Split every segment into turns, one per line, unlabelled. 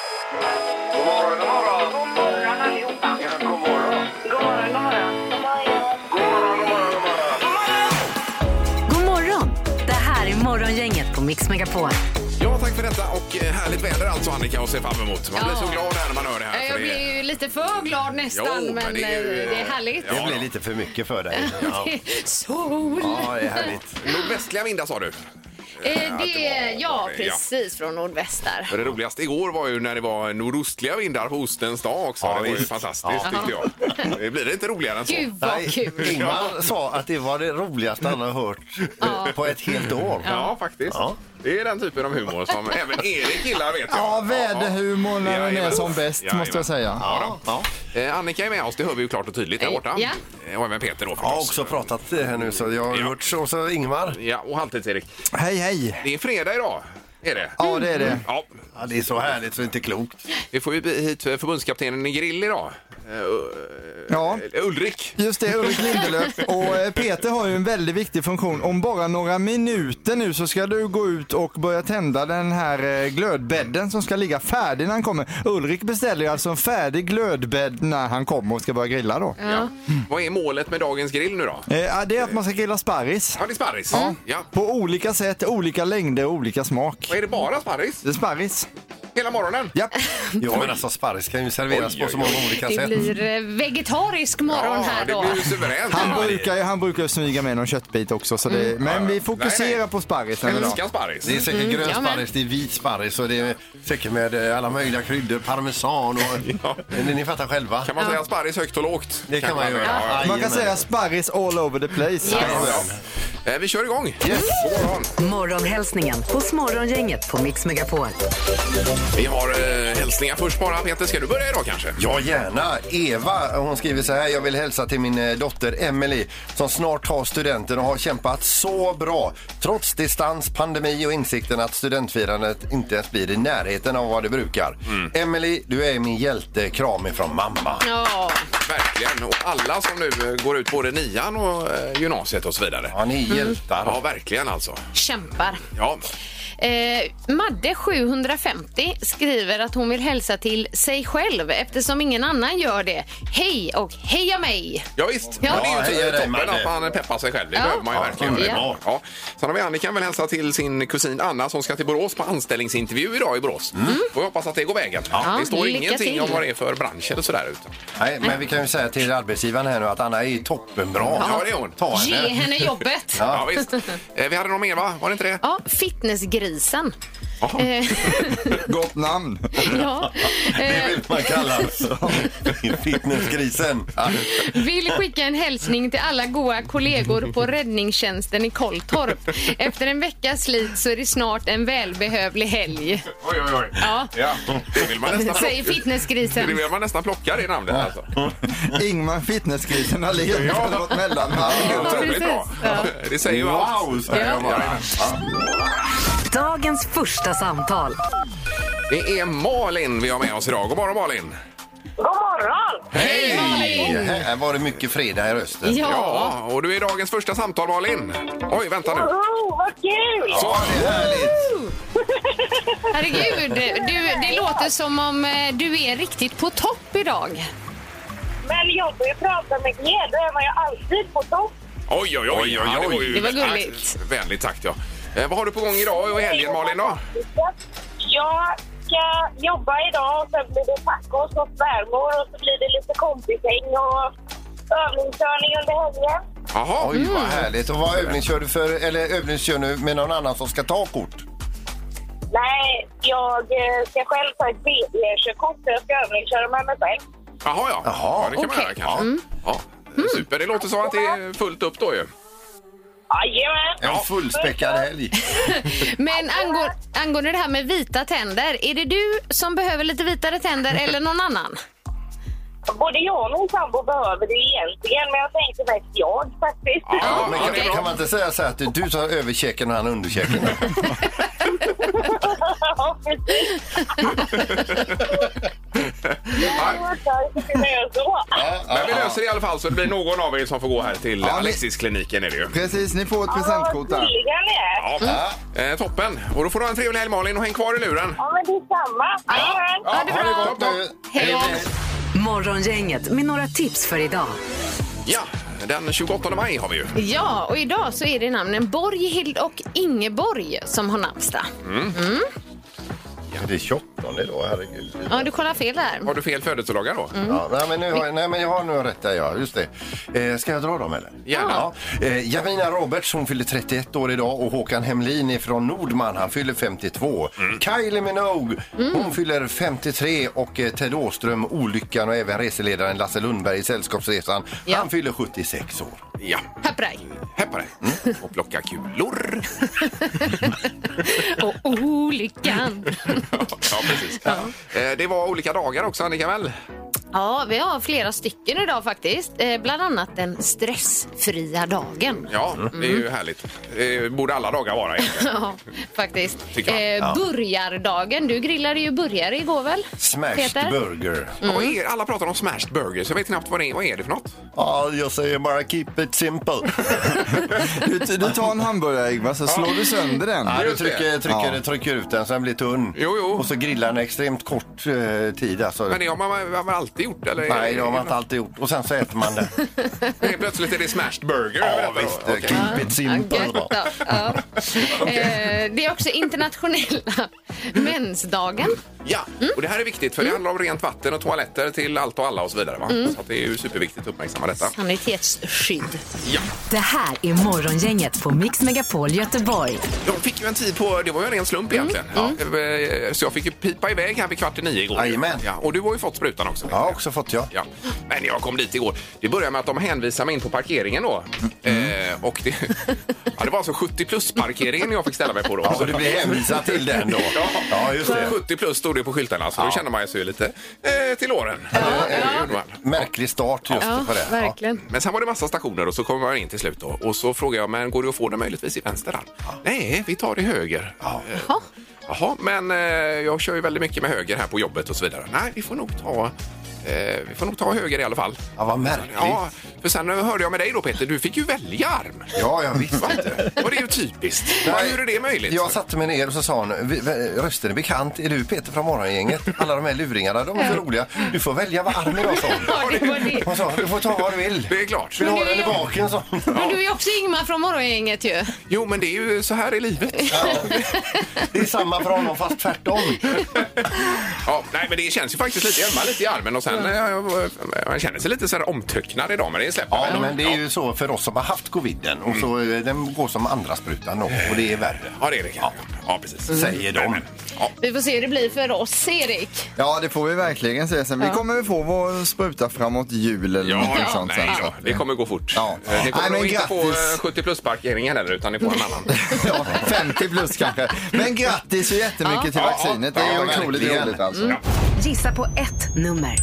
God morgon, god morgon.
God morgon allihopa.
Ja, god morgon.
God morgon, god morgon.
God morgon, god morgon, god morgon.
God morgon! Det här är Morgongänget på Mix Megapol.
Ja, tack för detta och eh, härligt väder alltså Annika och se fram emot. Man blir
Ja.
så glad här när man hör det här.
Jag
för det-
blir ju lite för glad nästan,
Jo, men
men
det
det
är
är,
ju-
det är härligt.
Ja.
Det blir lite för mycket för dig. Ja,
Sol!
ja det är härligt.
Nordvästliga vindar sa du.
Eh, det är,
var-
ja,
ja.
precis, från nordväst där.
Det roligaste igår var ju när det var nordostliga vindar på ostens dag också.
Ja,
det var ju
visst.
fantastiskt tyckte jag. Det blir inte roligare än så.
Gud vad kul!
Ingmar sa att det var det roligaste han har hört på ett helt år.
Ja, faktiskt.
Ja.
Det är den typen av humor som även Erik gillar vet jag.
Ja, väderhumor när den är
Jajamän.
som bäst måste jag säga.
Ja, ja. då. Eh, Annika är med oss, det hör vi ju klart och tydligt där
Eh,
borta.
ja.
Eh, Och även Peter då
Jag har
förstås.
också pratat här nu så jag har
Ja.
hört så, så Ingmar.
Ja, och Halvtids-Erik.
Hej, hej!
Det är fredag idag, är det.
Ja, det är det.
Ja,
Ja, det är så härligt så det är inte klokt.
vi får ju hit eh, förbundskaptenen i grill idag. Eh,
Ja.
eh, Ulrik.
Just det, Ulrik Lindelöf. Och eh, Peter har ju en väldigt viktig funktion. Om bara några minuter nu så ska du gå ut och börja tända den här eh, glödbädden som ska ligga färdig när han kommer. Ulrik beställer ju alltså en färdig glödbädd när han kommer och ska börja grilla då.
Ja. Vad är målet med dagens grill nu då?
Eh, ja, Det är att man ska grilla sparris.
Ja, det är sparris. Ja.
På olika sätt, olika längder och olika smak.
Och är det bara sparris
Det är sparris.
hela morgonen?
Japp.
Jo men alltså sparris kan ju serveras
Oj,
på så
oj,
många olika
Det
sätt.
blir eh, vegetarisk morgon här
det
då.
blir ju suveränt.
Han brukar ju han brukar ju smyga med någon köttbit också. Så det, Men vi fokuserar
Nej, nej.
på sparris den här dagen.
Älskar sparris.
Det är säkert grön
ja, men-
sparris, det är vit sparris och det är säkert med eh, alla möjliga kryddor, parmesan och...
Ja.
Men Ni fattar själva.
Kan man säga sparris högt och lågt?
Det kan man göra.
Ja,
Man kan
Jajamän.
säga sparris all over the place.
ja. Eh, Vi kör igång. God morgon.
Morgonhälsningen hos Morgongänget på Mix Megapol.
Vi har eh, hälsningar först bara. Peter, ska du börja idag kanske?
Ja, gärna. Eva hon skriver så här. Jag vill hälsa till min eh, dotter Emily som snart tar studenten och har kämpat så bra trots distans, pandemi och insikten att studentfirandet inte ens blir i närheten av vad det brukar.
Mm.
Emily, du är min hjälte. Kram ifrån mamma.
Ja,
Verkligen. Och alla som nu eh, går ut både nian och eh, gymnasiet och så vidare.
Ja,
Mm.
ni är hjältar.
Ja, verkligen alltså.
kämpar.
Ja.
Eh, Madde 750 skriver att hon vill hälsa till sig själv eftersom ingen annan gör det. Hej och heja mig!
Ja, visst.
Ja.
Men det är
Ja,
ju
hej, hej,
toppen
Madde.
att man peppar sig själv. Det
Ja.
behöver man ju
Ja,
verkligen.
det är
Ja.
bra.
Ja. Sen har vi Annika vill hälsa till sin kusin Anna som ska till Borås på anställningsintervju idag i Borås.
Mm.
Och jag hoppas att det går vägen. det står
lycka
ingenting
till.
om vad det är för bransch eller sådär. Utan.
Nej, men vi kan ju säga till arbetsgivaren här nu att Anna är toppenbra.
Ja, det är hon.
Ta
Ge
henne.
henne jobbet!
Ja, visst. Eh, Vi hade någon mer, va? Var det inte det?
Ja, fitnessgrisen.
Jaha.
Eh,
Gott namn.
ja.
Det
Eh,
vill man kalla fitnessgrisen. Ja.
vill skicka en hälsning till alla goa kollegor på räddningstjänsten i Kolltorp. Efter en veckas slit så är det snart en välbehövlig helg.
Oj, oj, oj.
Ja.
Det vill man nästan
Säger
plocka. Det
fitnessgrisen.
vill man nästan plocka det namnet alltså.
Ingmar Fitnessgrisen Ahlén. Ja. Det var ett
Det är
mellannamn.
otroligt bra.
Ja.
Det säger ju
Wow!
allt.
säger jag bara.
Dagens första samtal.
Det är Malin vi har med oss idag. God morgon Malin!
God morgon!
Hej Malin!
Här var det mycket fredag i rösten.
Ja,
Ja, och du är dagens första samtal Malin. Oj, vänta nu.
Oh, vad kul!
Så,
herregud. Du, det låter som om eh, du är riktigt på topp idag.
Men jag börjar prata med er, då är man ju alltid på topp.
oj, oj, oj. oj, Ja, var ju
Det var gulligt.
tack- Vänligt sagt ja. Eh, vad har du på gång idag och i helgen Malin då?
Jag ska jobba idag och sen blir det tacos och svärmor och så blir det lite kompishäng och övningskörning under helgen.
Jaha.
Oj,
Mm.
vad härligt. Och vad övningskör du för, eller övningskör du med någon annan som ska ta kort?
Nej, jag eh, ska själv ta ett BE-körkort så jag ska övningsköra med mig själv.
Jaha, ja.
Jaha,
ja det kan man
okej.
göra kanske. Ja. Super, det låter som att det är fullt upp då ju.
Jajamän!
En fullspäckad helg.
Men angå- angående det här med vita tänder, är det du som behöver lite vitare tänder eller någon annan?
Både jag och min sambo behöver det egentligen, men jag tänkte mest jag faktiskt.
Ja,
Men
det är
kan,
bra.
kan man inte säga så här att du tar överkäken och han underkäken?
Ja, precis.
Nej,
Jag vet inte hur jag ska göra så.
Men vi löser löser det i alla fall så det blir någon av er som får gå här till
ni-
Alexiskliniken är det ju.
Precis, ni får ett presentkort
Ja,
där.
tydligen är.
Ja, eh, toppen. Och då får du ha en trevlig helg Malin och häng kvar i luren.
Ja, men detsamma. Adjö.
Ja,
det
ha
bra.
gott. Topp, topp.
Hej då.
Morgongänget med några tips för idag.
Ja, den 28 maj har vi ju.
Ja, och idag så är det namnen Borghild och Ingeborg som har namnsdag.
Är det 28 då? Herregud.
Ja, du kollar fel där.
Har du fel födelsedagar då?
Ja, nej, men nu har, jag- nej, men jag har nu rätt där, ja. Just det. Eh, ska jag dra dem eller?
Gärna.
Ja. Eh, Jamina Roberts, hon fyller 31 år idag och Håkan Hemlin från Nordman, han fyller 52.
Mm.
Kylie Minogue, hon fyller 53 och eh, Ted Åström, Olyckan och även reseledaren Lasse Lundberg i Sällskapsresan,
Ja.
han fyller 76 år.
Ja.
Papraj.
Häpp på dig. Och plocka kulor.
Och olyckan.
ja, precis. Eh, Det var olika dagar också, Annika väl?
Ja, vi har flera stycken idag faktiskt. Eh, bland annat den stressfria dagen.
Ja, det är ju
Mm.
härligt. Eh, borde alla dagar vara egentligen.
Ja, faktiskt.
Tycker man.
Eh, burgardagen. Du grillade ju burgare igår väl?
Smashed
Peter?
burger.
Vad är- Alla pratar om smashed burgers. Jag vet knappt vad det är. Vad är det för något?
Ja, jag säger bara keep it simple.
Du, du tar en hamburgare Ingvar, så slår du sönder den.
Ja, du
Just det.
trycker, trycker,
Ja.
trycker ut den så den blir tunn.
Jo, jo.
Och så grillar den extremt kort eh, tid. Alltså.
Men det har man, har man alltid gjort? Eller?
Nej, det har man inte alltid gjort. Och sen så äter man den.
Helt Plötsligt är det smashed burger. över
ja,
detta då.
visst.
Okej.
Keep it
Ja,
simple.
gött då. ja. eh, det är också internationella mensdagen.
Ja, och det här är viktigt
Mm.
för det handlar om rent vatten och toaletter till allt och alla och så vidare. Va? Så att det är ju superviktigt att uppmärksamma detta.
Sanitetsskydd.
Ja.
Det här är Morgongänget på Mix Megapol Göteborg.
De fick ju en tid på, det var ju en ren slump egentligen.
Mm.
Ja. Eh, Så jag fick ju pipa iväg här vid kvart i nio igår.
Jajamän.
Ja, och du har ju fått sprutan också.
Jag har också fått jag.
Ja. Men jag kom dit igår. Det började med att de hänvisade mig in på parkeringen då.
Mm.
Eh, och det, ja, det var alltså 70 plus-parkeringen jag fick ställa mig på då.
Ja, och du blir hänvisad till den då.
Ja.
Ja, just det.
70 plus stod det på skyltarna, så då känner man ju sig lite eh, till åren. Eh, det gjorde man.
Märklig start just
Ja,
på det. Ja.
verkligen.
Men sen var det massa stationer och så kommer man in till slut då. Och så frågar jag, men går det att få det möjligtvis i vänster hand? Nej, vi tar det i höger. Ja.
Jaha.
Jaha, men eh, jag kör ju väldigt mycket med höger här på jobbet och så vidare. Nej, vi får nog ta, eh, vi får nog ta höger i alla fall.
Ja, vad märkligt. Ja,
Ja, för sen hörde jag med dig då Peter, du fick ju välja arm.
jag visste
Va?
inte.
Och det är ju typiskt. Hur är det möjligt?
Jag satte mig ner och så sa hon, "Vi- vi- rösten är bekant, är du Peter från Morgongänget? Alla de här luringarna, de är så roliga. Du får välja vad arm idag, sa hon.
Ja, det var det.
Hon sa, du får ta vad du vill.
Det är klart.
Vill du ha
Men det
den i
är-
baken, sa hon.
Men du är också Ingmar från Morgongänget ju.
Jo, men det är ju så här i livet.
Det är samma för honom fast tvärtom.
Ja, nej, men det känns ju faktiskt lite, ömma lite i armen och sen eh, man känner sig lite så här omtöcknad idag, men det släpper
Ja,
väl då.
men det är ju så för oss som har haft coviden och så eh, den går som andra sprutan då, och det är värre.
Ja, det är det kanske. Ja, precis.
Säger de.
Men, Ja.
Vi får se hur det blir för oss, Erik.
Ja, det får vi verkligen se sen. Vi kommer väl få vår spruta framåt jul eller
Ja,
någonting
ja,
sånt sen.
nej
så
då.
att-
Det kommer gå fort.
Ja.
Eh, Ni
Nej,
kommer
men
nog inte få
grattis.
eh, 70 plus-parkeringen heller, utan ni får en annan.
Ja, 50 plus kanske. Men grattis så jättemycket till
Ja,
vaccinet. Det är
ja,
ju otroligt
verkligen.
roligt alltså.
Gissa på ett nummer.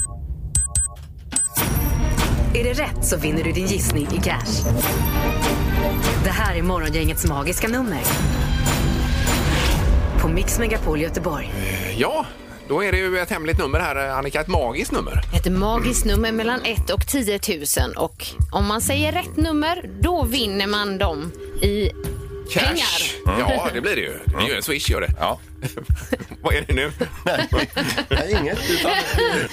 Är det rätt så vinner du din gissning i cash. Det här är Morgongängets magiska nummer. På Mix Megapol Göteborg.
Ja, då är det ju ett hemligt nummer här, eh, Annika. Ett magiskt nummer.
Ett magiskt nummer mellan 1 och 10 000. Och om man säger rätt nummer, då vinner man dem i pengar.
Ja, det blir det ju. Det är ju en swish, gör det.
Ja.
Vad är det nu?
Nej, inget. Utan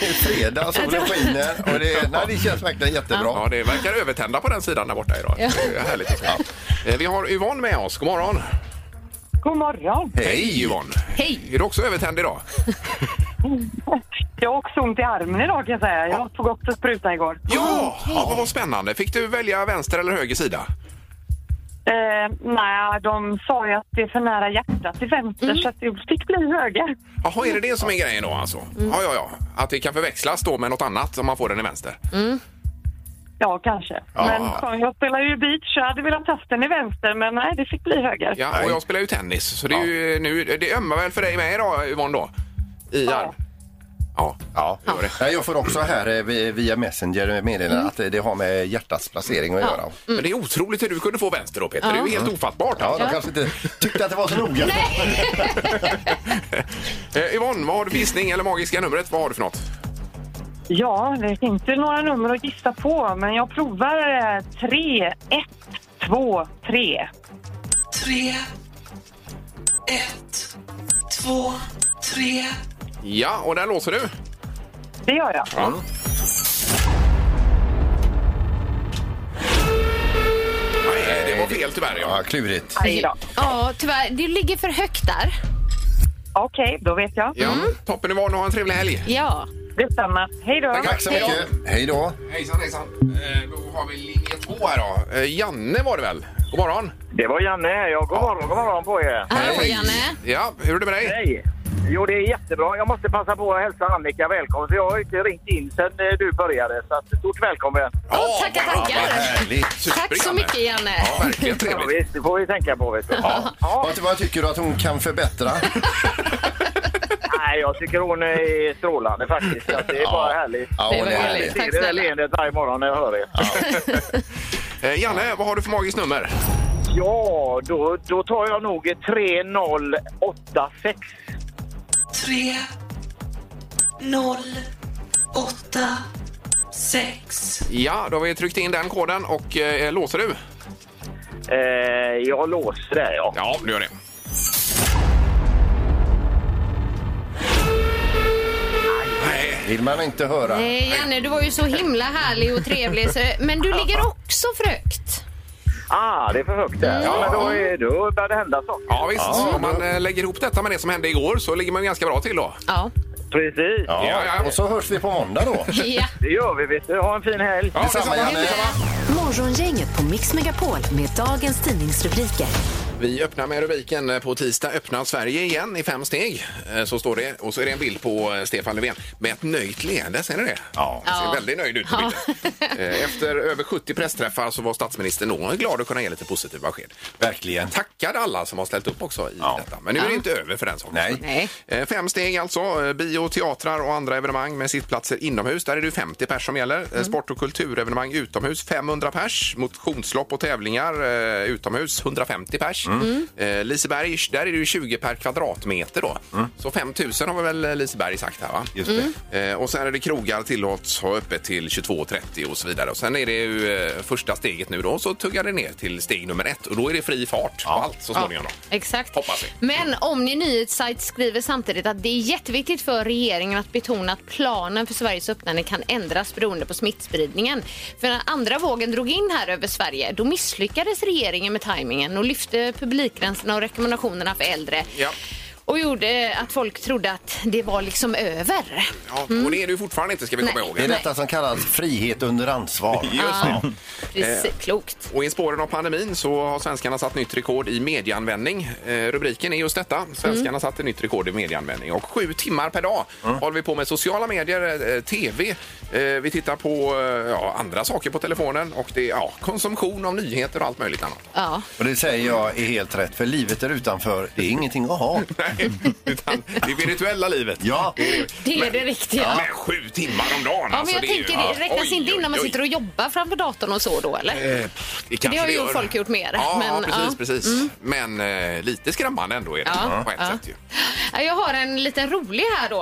det är fredag, solen skiner och det, nej, det känns verkligen jättebra.
Ja, det verkar övertända på den sidan där borta idag.
Ja.
Det är härligt att se. Eh, Vi har Yvonne med oss. God morgon.
God morgon.
Hej Yvonne.
Hej!
Är du också övertänd idag?
Jag har också ont i armen idag kan jag säga. Jag tog också sprutan igår.
Ja, ja vad spännande. Fick du välja vänster eller höger sida?
Eh, nej, de sa ju att det är för nära hjärtat till vänster så att det fick bli höger.
Jaha, är det det som är grejen då alltså? Ja, ja, ja. Att det kan förväxlas då med något annat om man får den i vänster.
Ja, kanske. Men som jag spelar ju beach så jag hade velat haft den i vänster men nej, det fick bli höger.
Ja, och jag spelar ju tennis så det, är ju, nu, det ömmar väl för dig med idag Yvonne då? I
Ja.
arm? Ja.
Ja.
det gör det.
Nej, Jag får också här eh, vi- via Messenger meddelande att eh, det- det har med hjärtats placering att göra.
Men det är otroligt hur du kunde få vänster då Peter. Det är ju helt ofattbart.
Ja, de
Alltså.
kanske inte tyckte att det var så noga.
Eh, Yvonne, vad har du för gissning eller magiska numret? Vad har du för något?
Ja, det finns ju några nummer att gissa på, men jag provar eh, tre, ett, två, tre.
Ja, och där låser du.
Det gör jag.
Nej, eh, det var fel tyvärr. Ja.
Ja, klurigt.
Aj då.
Ja, tyvärr. Du ligger för högt där.
Okej, då vet jag.
Ja, Mm. Toppen du var och ha en trevlig helg.
Ja.
Detsamma. Hej då.
Tack så mycket. Hej då.
Hejsan, hejsan. Eh, då har vi linje två här då. Eh, Janne var det väl? God morgon.
Det var Janne här. Ja, god morgon, god morgon på er.
Hallå, Janne.
Ja, hur är det med dig?
Hej! Jo, det är jättebra. Jag måste passa på att hälsa Annika välkommen. För jag har inte ringt in sen eh, du började. Så att, stort välkommen!
Ja,
Åh, tackar,
wow, vad
tackar.
härligt.
Tack så
Super,
mycket,
Janne.
Janne.
Ja, verkligen
Ja,
trevligt.
visst, det får vi tänka på. Vet du.
Ja.
Ja,
Vad, vad tycker du att hon kan förbättra?
nej, jag tycker hon är strålande faktiskt. Så att det är bara härligt.
Ja,
Det
hon
var
är
härligt.
härlig.
Jag ser
Tack
det där
snälla.
leendet varje morgon när jag hör er.
Eh, Janne, vad har du för magiskt nummer?
Ja, då, då tar jag nog 3086.
Ja, då har vi tryckt in den koden och eh, låser du?
Eh, jag låser det, ja.
Ja, du gör det. Nej.
Vill man inte höra?
Nej, Eh, Janne, du var ju så himla härlig och trevlig. Så, men du ligger också för högt.
Ah, det är för högt där. Ja, men då, är, då börjar det hända saker.
Ja, visst. Om man eh, lägger ihop detta med det som hände igår så ligger man ju ganska bra till då.
Ja.
Precis.
Ja,
Ja, ja.
Och så hörs vi på måndag då.
ja.
Det gör vi, vet du. Ha en fin helg.
Ja,
Detsamma,
detsamma.
Janne.
Morgongänget på Mix Megapol med dagens tidningsrubriker.
Vi öppnar med rubriken eh, på tisdag öppnar Sverige igen i fem steg. Eh, Så står det. Och så är det en bild på eh, Stefan Löfven med ett nöjt leende. Ser ni det? Ja. Han ser
Ja.
väldigt nöjd ut på bilden. Eh, Efter över 70 pressträffar så var statsministern nog glad att kunna ge lite positiva besked.
Verkligen.
Tackade alla som har ställt upp också i
Ja.
detta. Men nu är det inte över för den saken.
Nej.
Nej.
Eh, Fem steg alltså. Eh, Bio, teatrar och andra evenemang med sittplatser inomhus. Där är det ju 50 pers som gäller. Eh, Sport och kulturevenemang utomhus 500 pers. Motionslopp och tävlingar eh, utomhus 150 pers. Eh, Liseberg, där är det ju 20 per kvadratmeter då. Så 5 000 har väl eh, Liseberg sagt här va?
Just det.
Eh, Och sen är det krogar tillåts ha öppet till 22.30 och så vidare. Och sen är det ju eh, första steget nu då. Så tuggar det ner till steg nummer ett och då är det fri fart på allt så småningom. då.
Exakt.
Hoppas vi.
Men Omni Nyhetssajt skriver samtidigt att det är jätteviktigt för regeringen att betona att planen för Sveriges öppnande kan ändras beroende på smittspridningen. För när andra vågen drog in här över Sverige, då misslyckades regeringen med tajmingen och lyfte publikgränserna och rekommendationerna för äldre.
Ja.
Och gjorde att folk trodde att det var liksom över.
Ja, Och det är det ju fortfarande inte ska vi komma
Nej.
ihåg.
Det är detta som kallas frihet under ansvar.
Eh.
Precis, klokt.
Och i spåren av pandemin så har svenskarna satt nytt rekord i medieanvändning. Eh, rubriken är just detta. Svenskarna satte nytt rekord i medieanvändning. Och sju timmar per dag håller vi på med sociala medier, eh, tv. Eh, vi tittar på eh, ja, andra saker på telefonen och det är ja, konsumtion av nyheter och allt möjligt annat.
Ja.
Och det säger jag är helt rätt, för livet där utanför, det är ingenting att ha.
Nej, utan det virtuella livet.
Ja,
Det är det riktiga.
Ja.
Ja.
Men sju timmar om dagen! alltså,
men jag
är ju-
tänker,
ja.
det räknas
Oj,
inte in när man
oj, oj.
sitter och jobbar framför datorn och så då eller?
Eh, Det, kanske
Det har ju
gör.
folk gjort mer,
Ja,
men,
precis.
ja. Mm.
precis. Men eh, lite skrämmande ändå är det
Ja,
på ett
ja.
sätt. Ju.
Ja, Jag har en liten rolig här då.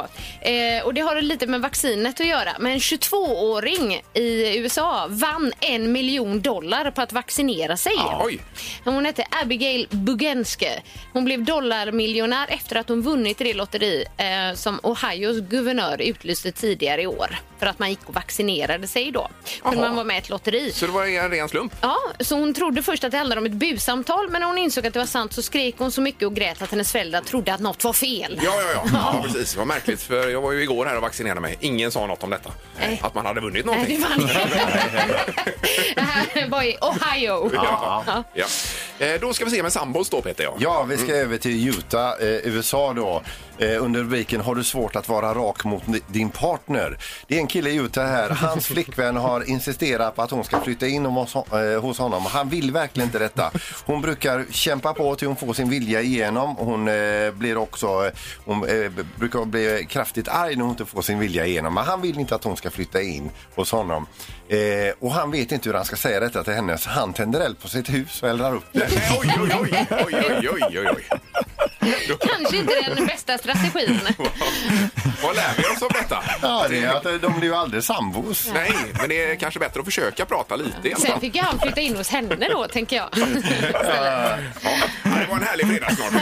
Eh, och det har lite med vaccinet att göra. Men en 22-åring i USA vann en miljon dollar på att vaccinera sig.
Ja, oj.
Hon hette Abigail Bugenske. Hon blev dollarmiljonär efter att hon vunnit det lotteri eh, som Ohios guvernör utlyste tidigare i år. För att man gick och vaccinerade sig då. Kunde
Jaha.
man vara med i ett lotteri.
Så det var en ren slump.
Ja, så hon trodde först att det handlade om ett busamtal men när hon insåg att det var sant så skrek hon så mycket och grät att hennes föräldrar trodde att något var fel.
Ja, ja, ja. ja precis. Det var märkligt för jag var ju igår här och vaccinerade mig. Ingen sa något om detta.
Nej.
Att man hade vunnit
Nej, det
någonting.
var det här var i Ohio.
Ja. Ja. Eh, Då ska vi se med sambos då Peter. Ja.
ja vi ska över till Utah, eh, USA då. Eh, under rubriken Har du svårt att vara rak mot ni- din partner? Det är en kille i Utah här. Hans flickvän har insisterat på att hon ska flytta in om hos, eh, hos honom. Han vill verkligen inte detta. Hon brukar kämpa på till hon får sin vilja igenom. Hon eh, blir också, eh, hon eh, b- brukar bli kraftigt arg när hon inte får sin vilja igenom. Men han vill inte att hon ska flytta in hos honom. Eh, och han vet inte hur han ska säga detta till henne så han tänder eld på sitt hus och eldar upp det.
Nej, Oj, oj, oj, oj, oj, oj, oj, oj.
Kanske inte den bästa strategin.
Vad lär vi oss överens om detta.
Ja, det är att eh, de blir ju aldrig sambos.
Nej, men det är kanske bättre att försöka prata lite i alla
Sen
fall.
fick ju han flytta in hos henne då, tänker jag.
Ja, det var en härlig fredag snart.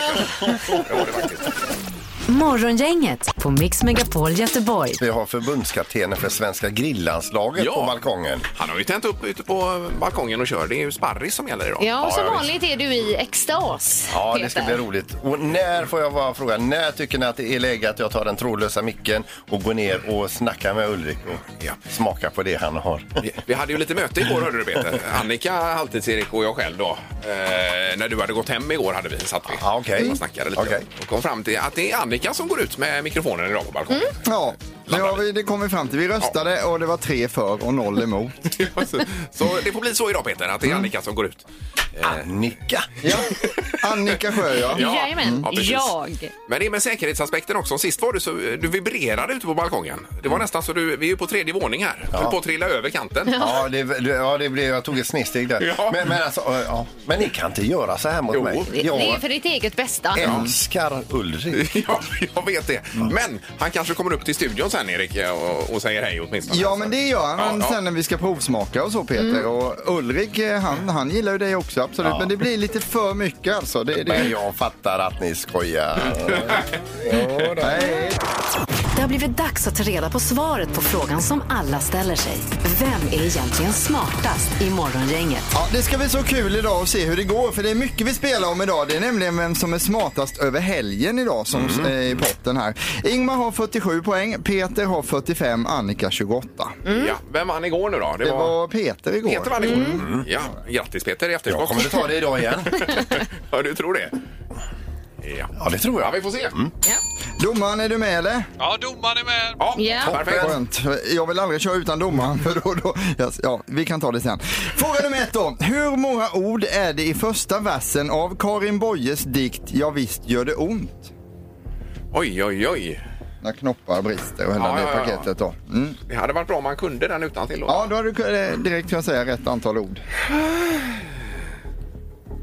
Det var det faktiskt.
Morgongänget på Mix Megapol Göteborg.
Vi har förbundskaptenen för svenska grillanslaget
Ja.
på balkongen.
Han har ju tänt upp ute på balkongen och kör. Det är ju sparris som gäller idag.
Ja, och som
ja,
vanligt är du i extas,
Ja, det ska
Peter.
bli roligt. Och när får jag bara fråga, när tycker ni att det är läge att jag tar den trådlösa micken och går ner och snackar med Ulrik och
Ja.
smakar på det han har?
Vi- Vi hade ju lite möte igår hörde du Peter. Annika, halvtids-Erik och jag själv då. Eh, när du hade gått hem igår hade vi satt vi
Ah,
Ja, okej.
och snackade lite.
Okej.
Och kom fram till att det är Annika som går ut med mikrofonen idag på balkongen.
Ja, det, har vi, det kom vi fram till. Vi röstade och det var tre för och noll emot.
så, så det får bli så idag Peter, att
Mm.
det är Annika som går ut.
Annika!
Ja, Annika Sjö ja.
Jajamän,
Ja, precis.
jag.
Men det är med säkerhetsaspekten också. Sist var du så du vibrerade ute på balkongen. Det
Mm.
var nästan så du, vi är ju på tredje våning här. Höll på att trilla över kanten.
Ja, det, ja det blev, jag tog ett snedsteg där.
Ja.
Men, men, alltså, ja, men ni kan inte göra så här mot
Jo.
mig.
Det, det är
Jag
för ditt eget bästa.
älskar Ulrik.
Ja, jag vet det.
Mm.
Men han kanske kommer upp till studion sen, Erik, och, och säger hej åtminstone.
Ja men det gör han
Ja, Mm. ja.
sen när vi ska provsmaka och så Peter. Och Ulrik eh,
Mm.
han, han gillar ju dig också absolut. Men det blir lite för mycket alltså. Det, det...
Men jag fattar att ni skojar.
Nej.
Det har blivit dags att ta reda på svaret på frågan som alla ställer sig. Vem är egentligen smartast i Morgongänget?
Ja, det ska bli så kul idag att se hur det går för det är mycket vi spelar om idag. Det är nämligen vem som är smartast över helgen idag som
Mm.
är i potten här. Ingmar har 47 poäng, Peter har 45, Annika 28.
Ja, vem vann igår nu då?
Det var Peter igår.
Mm. Peter vann igår. Mm. Ja, grattis Peter i
Mm. Jag
efterskott.
kommer att ta det idag igen.
Ja, du tror det? Ja. Oh,
Ja, det tror
ja,
jag.
vi får se.
Domaren, är du med eller?
Ja, domaren är med.
Ja,
Ja.
perfekt.
Skönt. Jag vill aldrig köra utan domaren. För då, då, yes, ja, vi kan ta det sen. Fråga nummer ett då. Hur många ord är det i första versen av Karin Boyes dikt Ja visst gör det ont?
Oj, oj, oj.
När knoppar brister och hela
Ja,
det
ja, ja, ja.
paketet då. Mm.
Det hade varit bra om man kunde den utan till.
Ja, då hade du eh, direkt kunnat säga rätt antal ord.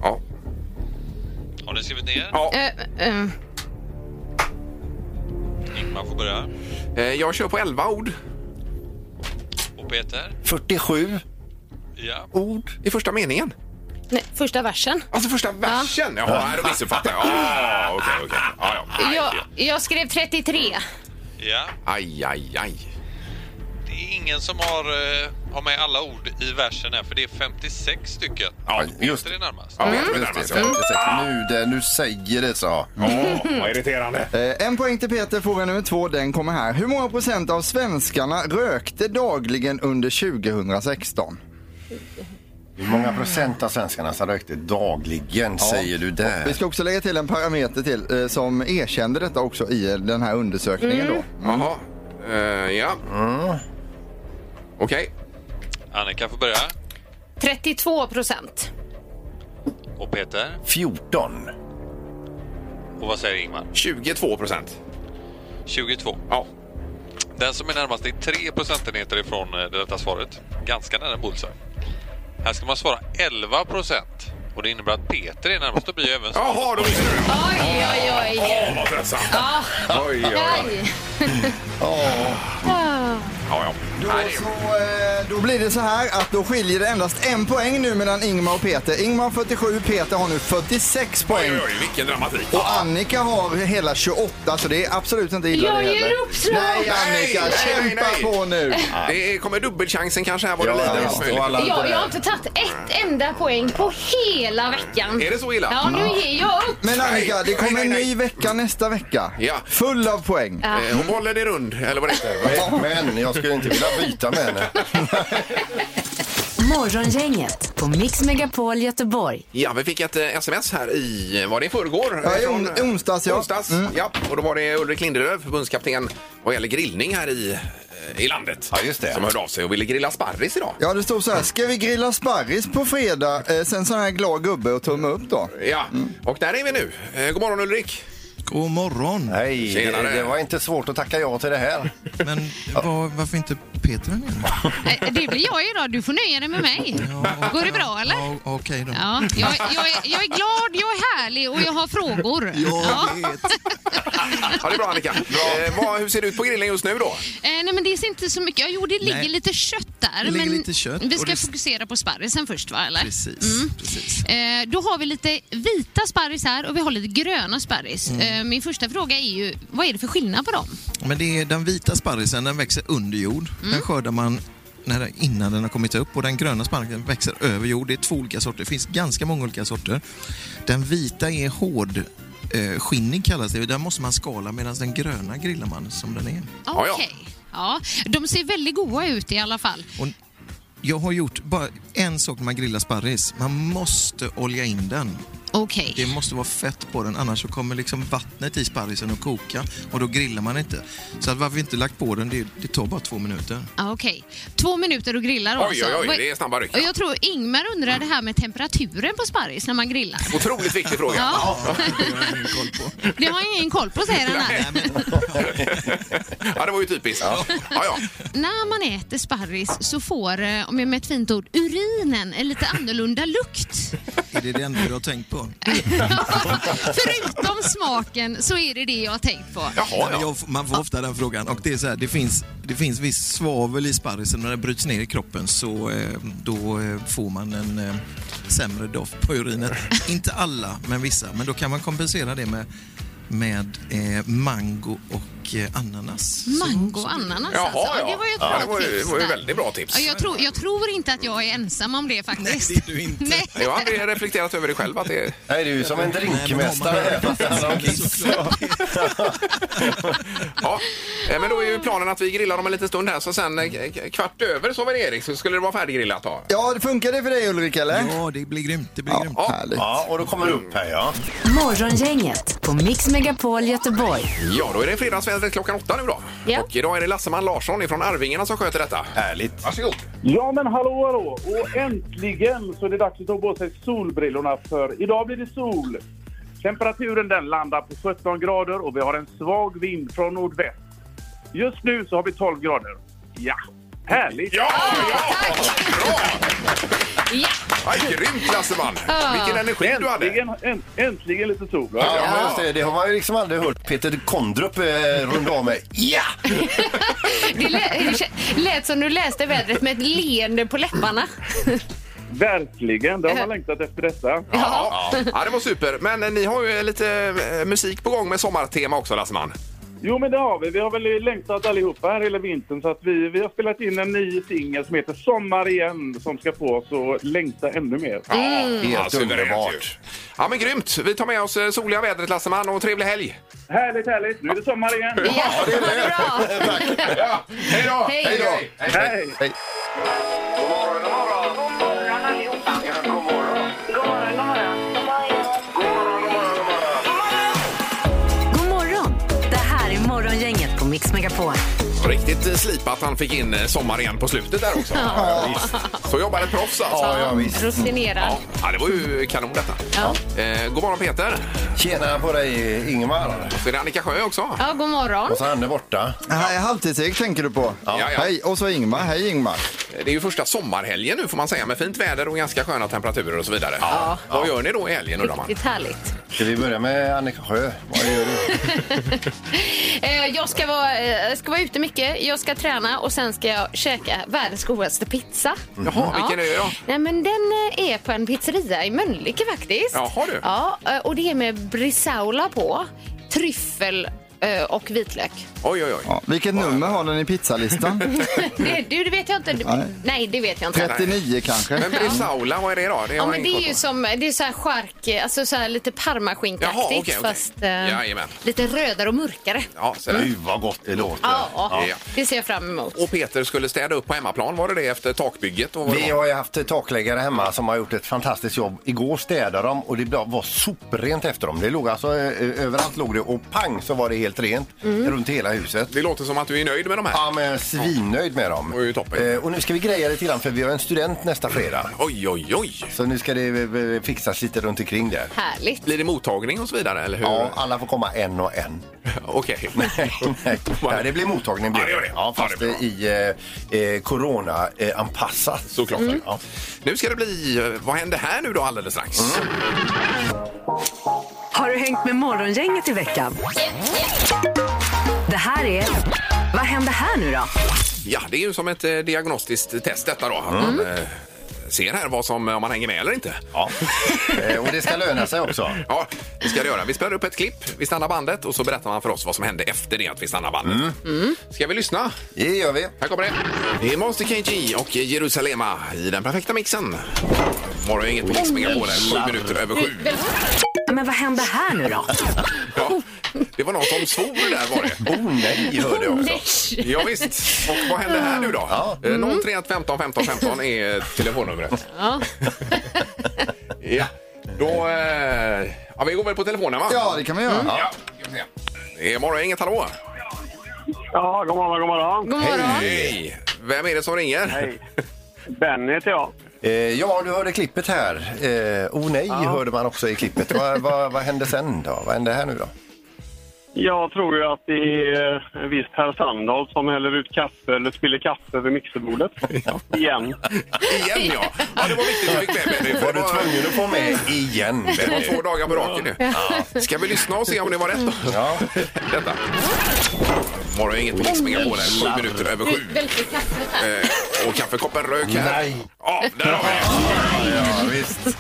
Ja.
Har ni skrivit ner?
Ja.
Eh, eh,
Ingmar får börja.
Eh, Jag kör på 11 ord
Och Peter?
47
Ja.
ord.
i första meningen.
nej, första versen.
Alltså första versen! Ja, ja då missuppfattar jag. Ah, Okej, okej. Ja, ja.
Jag,
Aj,
jag skrev 33.
Ja.
Aj, aj, aj.
Det är ingen som har, eh, har med alla ord i versen här, för det är 56 stycken.
Ja,
just
Peter är närmast.
Ja,
Mm.
Just det, 56. Nu, det, nu säger det så.
Åh, vad irriterande.
Eh, En poäng till Peter, fråga nummer två, den kommer här. Hur många procent av svenskarna rökte dagligen under 2016?
Hur många procent av svenskarna som rökte dagligen säger du
Vi
där?
ska också lägga till en parameter till eh, som erkände detta också i eh, den här undersökningen
Mm.
då.
Jaha. Eh, ja.
Mm.
Okej.
Annika får börja.
32 procent.
Och Peter?
14.
Och vad säger Ingmar?
22 procent.
22.
Ja.
Den som är närmast är 3 procentenheter ifrån eh, detta svaret. Ganska nära en bullseye. Här ska man svara 11 procent. Och det innebär att Peter är närmast. Då blir ju även så.
Jaha, då visste du.
Oj, oj, oj.
Åh, vad tröttsamt.
Ja,
Oj, oj, oj.
aj.
Ja, ja.
Då,
Nej, det-
så, eh, då blir det så här att då skiljer det endast en poäng nu mellan Ingmar och Peter. Ingmar har 47, Peter har nu 46
Oj,
poäng.
oj, oj, vilken dramatik.
Och Annika har hela 28 så det är absolut inte illa
Jag
det
ger
heller.
upp, tror jag.
Nej Annika,
Nej, nej,
kämpa
nej.
på nu!
Det kommer dubbelchansen kanske här vad det
Ja,
lider.
ja,
om
och
möjligt.
alla-
Jag, jag har inte tagit ett enda poäng på hela veckan.
Är det så illa?
Ja, nu ger jag upp.
Men Annika, det
Nej,
kommer
nej,
en
nej.
ny vecka nästa vecka.
Ja.
Full av poäng.
Eh, Hon håller det rund, eller vad det heter.
Men- Men jag skulle inte vilja byta med henne.
Morgongänget på Mix Megapol Göteborg.
Ja, vi fick ett eh, sms här i, var det i förrgår? Eh,
Ja, i
Från-
on- onsdags, ja.
Onsdags,
Mm.
ja. Och då var det Ulrik Lindelöf, förbundskapten vad gäller grillning här i, eh, i landet.
Ja, just det.
Som hörde av sig och ville grilla sparris idag.
Ja, det stod så här. Ska vi grilla sparris på fredag? Eh, sen sån här glad gubbe och tumme upp då.
Ja, och där är vi nu. Eh, God morgon Ulrik!
god morgon.
Nej,
Tjenare.
det, det var inte svårt att tacka ja till det här.
Men var, varför inte Peter är med?
Eh, Det blir jag idag. Du får nöja dig med mig.
Ja,
Går det bra eller?
Ja, Okej då.
Ja, jag, jag, är- jag är glad, jag är härlig och jag har frågor. Ja.
Jag vet.
Ja, det är bra Annika. Eh, vad, hur ser det ut på grillen just nu då?
Eh, nej men det är inte så mycket. Ja, jo det ligger
Nej.
lite kött där.
Det ligger
men
lite kött
vi
och
ska
det-
fokusera på sparrisen först va? Eller?
Precis, precis.
Eh, då har vi lite vita sparris här och vi har lite gröna sparris.
Mm.
Eh, min första fråga är ju, vad är det för skillnad på dem?
Men det är den vita sparrisen den växer under jord.
Mm.
Den skördar man när, den- innan den har kommit upp och den gröna sparrisen växer över jord. Det är två olika sorter. Det finns ganska många olika sorter. Den vita är hård eh, skinnig kallas det. Den måste man skala medan den gröna grillar man som den är.
Ja,
Okej.
ja.
Ja, de ser väldigt goda ut i alla fall.
Och jag har gjort bara en sak när man grillar sparris. Man måste olja in den.
Okej.
Det måste vara fett på den annars så kommer liksom vattnet i sparrisen att koka och då grillar man inte. Så att varför vi inte lagt på den, det, det tar bara två minuter.
Ja, Okej. Två minuter och grillar
Oj,
också.
oj, oj,
Vad-
det är snabba ryck.
Och jag tror Ingmar undrar det här med temperaturen på sparris när man grillar.
Otroligt viktig fråga.
Ja,
Det har jag ingen koll på.
det har jag ingen koll på säger han här.
Ja, det var ju typiskt. Ja, ja.
När man äter sparris så får, eh, om jag med ett fint ord, urinen en lite annorlunda lukt.
Är det det enda du har tänkt på?
Förutom smaken så är det det jag har tänkt på.
Jaha,
Men
ja.
jag, man får ofta den frågan och det är så här, det finns, det finns viss svavel i sparrisen när den bryts ner i kroppen så eh, då eh, får man en eh, sämre doft på urinen. Inte alla, men vissa. Men då kan man kompensera det med, med eh, mango och eh, ananas.
Mango och ananas
Jaha,
alltså. Ja,
ja.
Det var ju ett
Ja,
bra
det var ju-
tips
det var ju
där.
väldigt bra tips.
Ja, jag, tror, jag tror inte att jag är ensam om det faktiskt.
Nej, det är du inte.
Nej.
Jag har aldrig reflekterat över det själv. Att det är...
Nej, det är ju som en drinkmästare. här, fast det handlar om kiss.
ja. Eh, Men då är ju planen att vi grillar om en liten stund här, så sen eh, k- kvart över så var det Erik, så skulle det vara färdiggrillat då.
Ja, det funkar det för dig Ulrik eller?
Ja, det blir grymt. Det blir grymt.
Ja.
Härligt.
Ja, och då kommer det upp här ja.
Morgongänget på Mix Megapol Göteborg.
Ja, då är det fredagsvädret klockan åtta nu då.
Ja.
Och idag är det Lasseman Larsson från Arvingarna som sköter detta.
Härligt.
Varsågod.
Ja, men hallå, hallå! Och äntligen så är det dags att ta på sig solbrillorna för idag blir det sol. Temperaturen den landar på 17 grader och vi har en svag vind från nordväst. Just nu så har vi 12 grader. Ja, härligt!
Ja, ja, bra!
Ja.
Aj, grymt Lasseman!
Ja.
Vilken energi du hade.
Äntligen, änt, äntligen lite sol.
Ja, men just det, det har man ju liksom aldrig hört Peter Kondrup eh, runda av med. Ja!
Det lät, lät som du läste vädret med ett leende på läpparna.
Verkligen! Det har man längtat efter detta.
Ja. ja, det var super. Men eh, ni har ju lite eh, musik på gång med sommartema också Lasseman.
Jo, men det har vi. Vi har väl längtat allihopa här hela vintern så att vi, vi har spelat in en ny singel som heter Sommar igen som ska få oss att längta ännu mer.
Helt
suveränt ju.
underbart.
Ja, men grymt. Vi tar med oss eh, soliga vädret Lasseman och trevlig helg.
Härligt, härligt! Nu är det sommar igen!
Ja, det var bra.
Ja, hej då!
Hej.
Hej då!
Hej!
God morgon, god morgon. Ja, god morgon. God morgon, god morgon, god morgon.
God morgon! Det här är Morgongänget på Mix Megapol.
Riktigt eh, slipat att han fick in eh, sommar igen på slutet där också. Så jobbar ett proffs alltså.
Ja, ja, visst.
Rutinerad.
Ja, ja, det var ju kanon detta. Eh, god morgon Peter.
Tjena på dig Ingmar.
Så är det Annika Sjö också.
Ja, god morgon.
Och så han är borta.
Här, halvtids tänker du på?
Ja, ja.
Hej, och så Ingmar. Hej Ingmar.
Eh, Det är ju första sommarhelgen nu får man säga med fint väder och ganska sköna temperaturer och så vidare. Ja. Vad gör ni då i helgen undrar man?
Riktigt härligt.
Ska vi börja med Annika Sjö? Vad gör du?
Eh, Jag ska vara, eh, ska vara ute mycket, jag ska träna och sen ska jag käka världens godaste pizza.
Jaha, vilken är det då?
Nej, men den eh, är på en pizzeria i Mölnlycke faktiskt.
Jaha, du.
Ja, eh, och det är med brisaola på, tryffel eh, och vitlök.
Oj, oj, oj.
Ja, vilket nummer har den i pizzalistan?
Det, du, det vet jag inte.
Nej.
Nej, det vet jag inte.
39 kanske?
Men brisaola, vad är det då? Det har
Ja,
jag
men det
ingen
är ju
koll på.
som det är så här chark, eh, alltså så här lite parmaskinkaaktigt
Jaha, okej, okej.
fast eh,
Jajamän.
lite rödare och mörkare.
Ja, så där.
Mm.
Gud vad gott det låter.
Ja,
Ja.
det ser jag fram emot.
Och Peter skulle städa upp på hemmaplan, var det det efter takbygget? Och vad det
Vi
var?
har ju haft takläggare hemma som har gjort ett fantastiskt jobb. Igår eh, städade de och det var soprent efter dem. Det låg alltså, eh, överallt låg det och pang så var det helt rent
Mm.
runt hela huset.
Det låter som att du är nöjd med de här.
Ja, men svinnöjd med dem.
Det var ju toppen.
Eh, och nu ska vi greja lite grann för vi har en student nästa fredag.
Oj, oj, oj!
Så nu ska det eh, fixas lite runt omkring det.
Härligt.
Blir det mottagning och så vidare? Eller hur?
Ja, alla får komma en och en.
Okej.
Nej, nej. Nej, det blir mottagning. Blir.
Ja, det gör det.
Ja,
Ja,
fast
det är
i eh, eh, corona-anpassat.
Såklart.
Ja.
Nu ska det bli... eh, Vad händer här nu då alldeles strax?
Mm.
Har du hängt med Morgongänget i veckan? Det här är... Vad händer här nu då?
Ja, det är ju som ett eh, diagnostiskt test detta då.
Mm.
Att man eh, ser här vad som, om man hänger med eller inte.
Ja. Eh, och det ska löna sig också.
Ja, det ska det göra. Vi spelar upp ett klipp, vi stannar bandet och så berättar man för oss vad som hände efter det att vi stannar bandet.
Mm.
Ska vi lyssna?
Det gör vi.
Här kommer det. Det är Monster KG och Jerusalema i den perfekta mixen. Morgon inget på Mix Megapol, här, sju minuter över sju.
Men vad händer här nu då?
Ja, det var någon som svor där var det.
Oh nej, hör du också.
Ja, visst. Och vad händer här nu då?
Ja.
Eh, 031 15 15 15 är telefonnumret.
Ja.
Ja, då... Eh, ja, vi går väl på telefonen va?
Ja, det kan man göra.
Ja, ska vi se. Det är morgon, inget hallå.
Ja, god morgon, god morgon.
God morgon.
Hej! Vem är det som ringer?
Hej. Benny heter jag.
Eh, ja, du hörde klippet här. Eh, oh nej, hörde man också i klippet. Vad vad- vad hände sen då? Vad hände här nu då?
Jag tror ju att det är en viss herr Sandahl som häller ut kaffe eller spiller kaffe över mixerbordet. Igen.
Igen ja! Ja, det var viktigt att vi fick med Benny.
Var
för det
du
var-
tvungen att få med igen?
Det var två dagar på raken nu. Ska vi lyssna och se om det var rätt då?
Ja.
Detta. Morgon inget på Mix Megapol. här, Sju minuter över sju. Eh, och kaffekoppen rök här.
Nej.
Ja, där har vi det.
Ja, visst.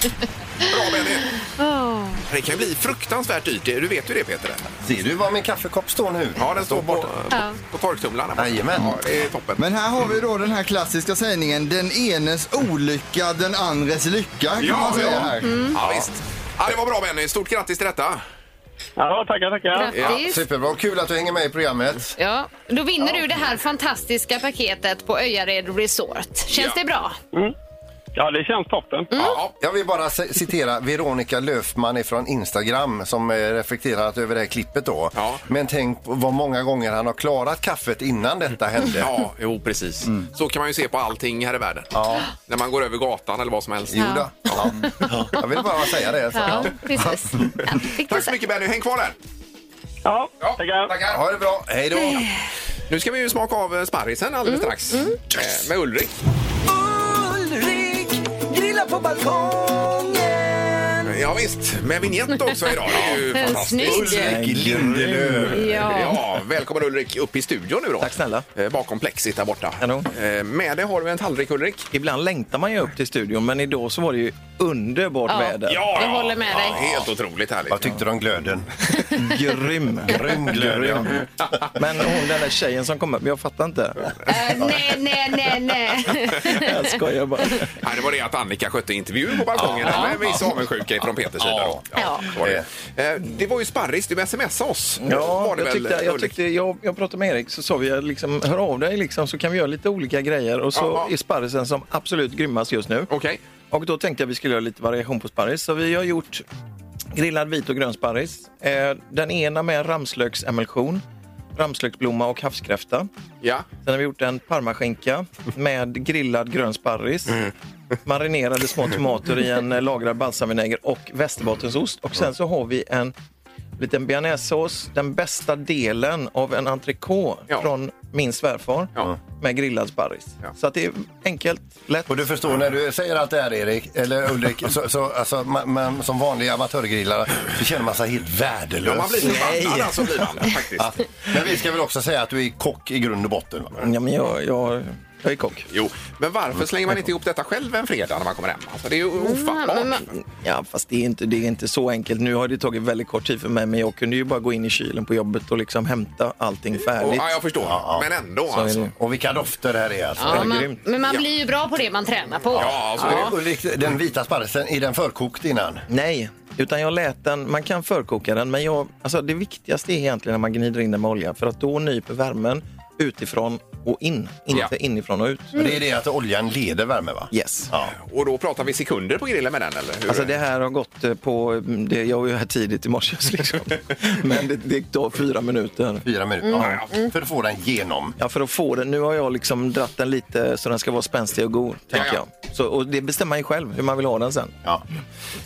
Bra Benny! Det kan ju bli fruktansvärt dyrt. det- Du vet ju det Peter.
Ser du var min kaffekopp står nu?
Ja, den står på, på, på torktumlaren. här.
Jajamän.
Ja, det är toppen.
Men här har vi då den här klassiska sägningen den enes olycka, den andres lycka. Kan
Ja,
man säga
ja.
här.
Mm.
Ja, visst. Ja, det var bra Benny. Stort grattis till detta.
Ja, tackar, tackar.
Ja,
Grattis.
superbra. Kul att du hänger med i programmet.
Ja, då vinner du det här fantastiska paketet på Öjared Resort. Känns
Ja.
det bra?
Ja, det känns toppen.
Ja,
Jag vill bara c- citera Veronica Löfman från Instagram som eh, reflekterat över det här klippet då.
Ja.
Men tänk på vad många gånger han har klarat kaffet innan detta hände.
Ja, jo precis. Så kan man ju se på allting här i världen. När man går över gatan eller vad som helst.
Jo då. Ja. Jag vill bara säga det. Så.
Ja, precis. Ja, fick du
Tack så
säga.
mycket Benny, häng kvar där!
Ja,
Ja,
tackar.
Ha det bra. Hej då.
Nu ska vi ju smaka av eh, sparrisen alldeles
Mm.
strax. Eh, Med Ulrik. Ja, visst, med vignett
Mm.
också idag. Det är ju fantastiskt.
Snygg.
Ulrik Lindelöf.
Ja.
Ja, välkommen Ulrik upp i studion nu då.
Tack snälla.
Eh, Bakom plexit där borta.
Hallå.
Eh, Med dig har du en tallrik Ulrik.
Ibland längtar man ju upp till studion, men idag så var det ju underbart
Ja.
väder.
Jag håller med dig.
Helt otroligt härligt.
Vad tyckte du om glöden?
Grym!
Grym glöd, ja.
Men hon den där tjejen som kom upp, jag fattar inte.
Eh, nej, nej, nej, nej.
Jag skojar bara.
Nej, det var det att Annika skötte intervjun på balkongen. Ja, med viss avundsjuka från Peters sida. då.
Ja.
det var det. Eh, det var ju Sparris, du smsade oss.
Ja,
var det
jag
väl,
tyckte, jag,
Ulrik?
tyckte, jag, jag pratade med Erik så sa vi liksom, hör av dig liksom, så kan vi göra lite olika grejer och så
Jaha.
är sparrisen som absolut grymmast just nu.
Okej.
Och då tänkte jag vi skulle göra lite variation på sparris. Så vi har gjort grillad vit och grön sparris. Eh, den ena med ramslöksemelsion, ramslöksblomma och havskräfta.
Ja.
Sen har vi gjort en parmaskinka med grillad grön sparris.
Mm.
Marinerade små tomater i en eh, lagrad balsamvinäger och västerbottensost. Och sen så har vi en liten bearnaisesås, den bästa delen av en entrecote
Ja.
från min svärfar
Ja.
med grillad sparris.
Ja.
Så att det är enkelt, lätt.
Och du förstår när du säger allt det här Erik, eller Ulrik, så, så alltså, man, man, som vanlig amatörgrillare så känner man sig helt värdelös.
Ja, man blir förbannad alltså, blir man faktiskt.
Ja. Men vi ska väl också säga att du är kock i grund och botten. Va?
Ja, men jag, jag, jag är kock.
Jo, men varför
Mm.
slänger man inte ihop detta själv en fredag när man kommer hem? Alltså, det är ju ofattbart.
Ja, fast det är, inte, det är inte så enkelt. Nu har det tagit väldigt kort tid för mig, men jag kunde ju bara gå in i kylen på jobbet och liksom hämta allting
Och,
färdigt.
ja, jag förstår.
Ja, ja.
Men ändå
Så är
alltså.
det.
Och vilka dofter det här är alltså.
Ja, man,
grymt.
men man blir ju bra på det man tränar på.
Ja, alltså,
Ja. Ulrik, den vita sparrisen, är den förkokt innan?
Nej, utan jag lät den, man kan förkoka den, men jag, alltså det viktigaste är egentligen när man gnider in den med olja, för att då nyper värmen utifrån och in, inte
Ja.
inifrån och ut.
Men Det är det att oljan leder värme va?
Yes.
Ja.
Och då pratar vi sekunder på grillen med den eller? Hur?
Alltså det här har gått eh, på, mm, det, jag var ju här tidigt i morse liksom. men det, det tar fyra minuter.
Fyra minuter. Ja, ja. För att få den genom.
Ja, för att få den, nu har jag liksom dratt den lite så den ska vara spänstig och god, tänker
Ja,
jag. Så, och det bestämmer man ju själv hur man vill ha den sen.
Ja.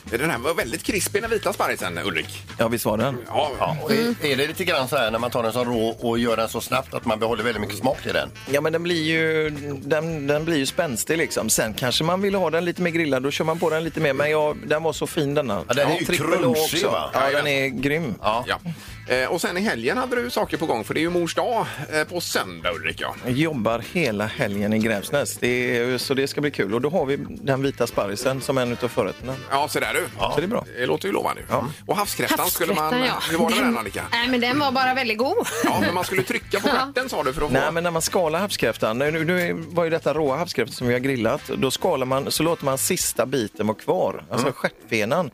Den här var väldigt krispig den vita sparrisen Ulrik.
Ja, visst var den?
Ja,
Ja, och är, är det lite grann så här när man tar den som rå och gör den så snabbt att man behåller väldigt mycket smak i den?
Ja, men den blir ju, den, den blir ju spänstig liksom. Sen kanske man vill ha den lite mer grillad, då kör man på den lite mer. Men ja, den var så fin denna.
Ja, den är ju
trippel A
crunchig,
också.
va?
Ja, den är grym.
Ja.
Ja. Eh, Och sen i helgen hade du saker på gång för det är ju mors dag eh, på söndag Ulrik. Ja.
Jag jobbar hela helgen i Grävsnäs, det är, så det ska bli kul. Och då har vi den vita sparrisen som en utav förrätterna.
Ja, så där du.
Så det är bra.
Det låter ju lovande. Och havskräftan, skulle man...
Havskräftan, ja.
Hur var det med den Annika?
Nej, men den var bara väldigt god.
Ja, men man skulle trycka på stjärten sa du för att få...
Nej, men när man skalar havskräftan, nu, nu- nu var ju detta råa havskräftor som vi har grillat, då skalar man, så låter man sista biten vara kvar, alltså stjärtfenan.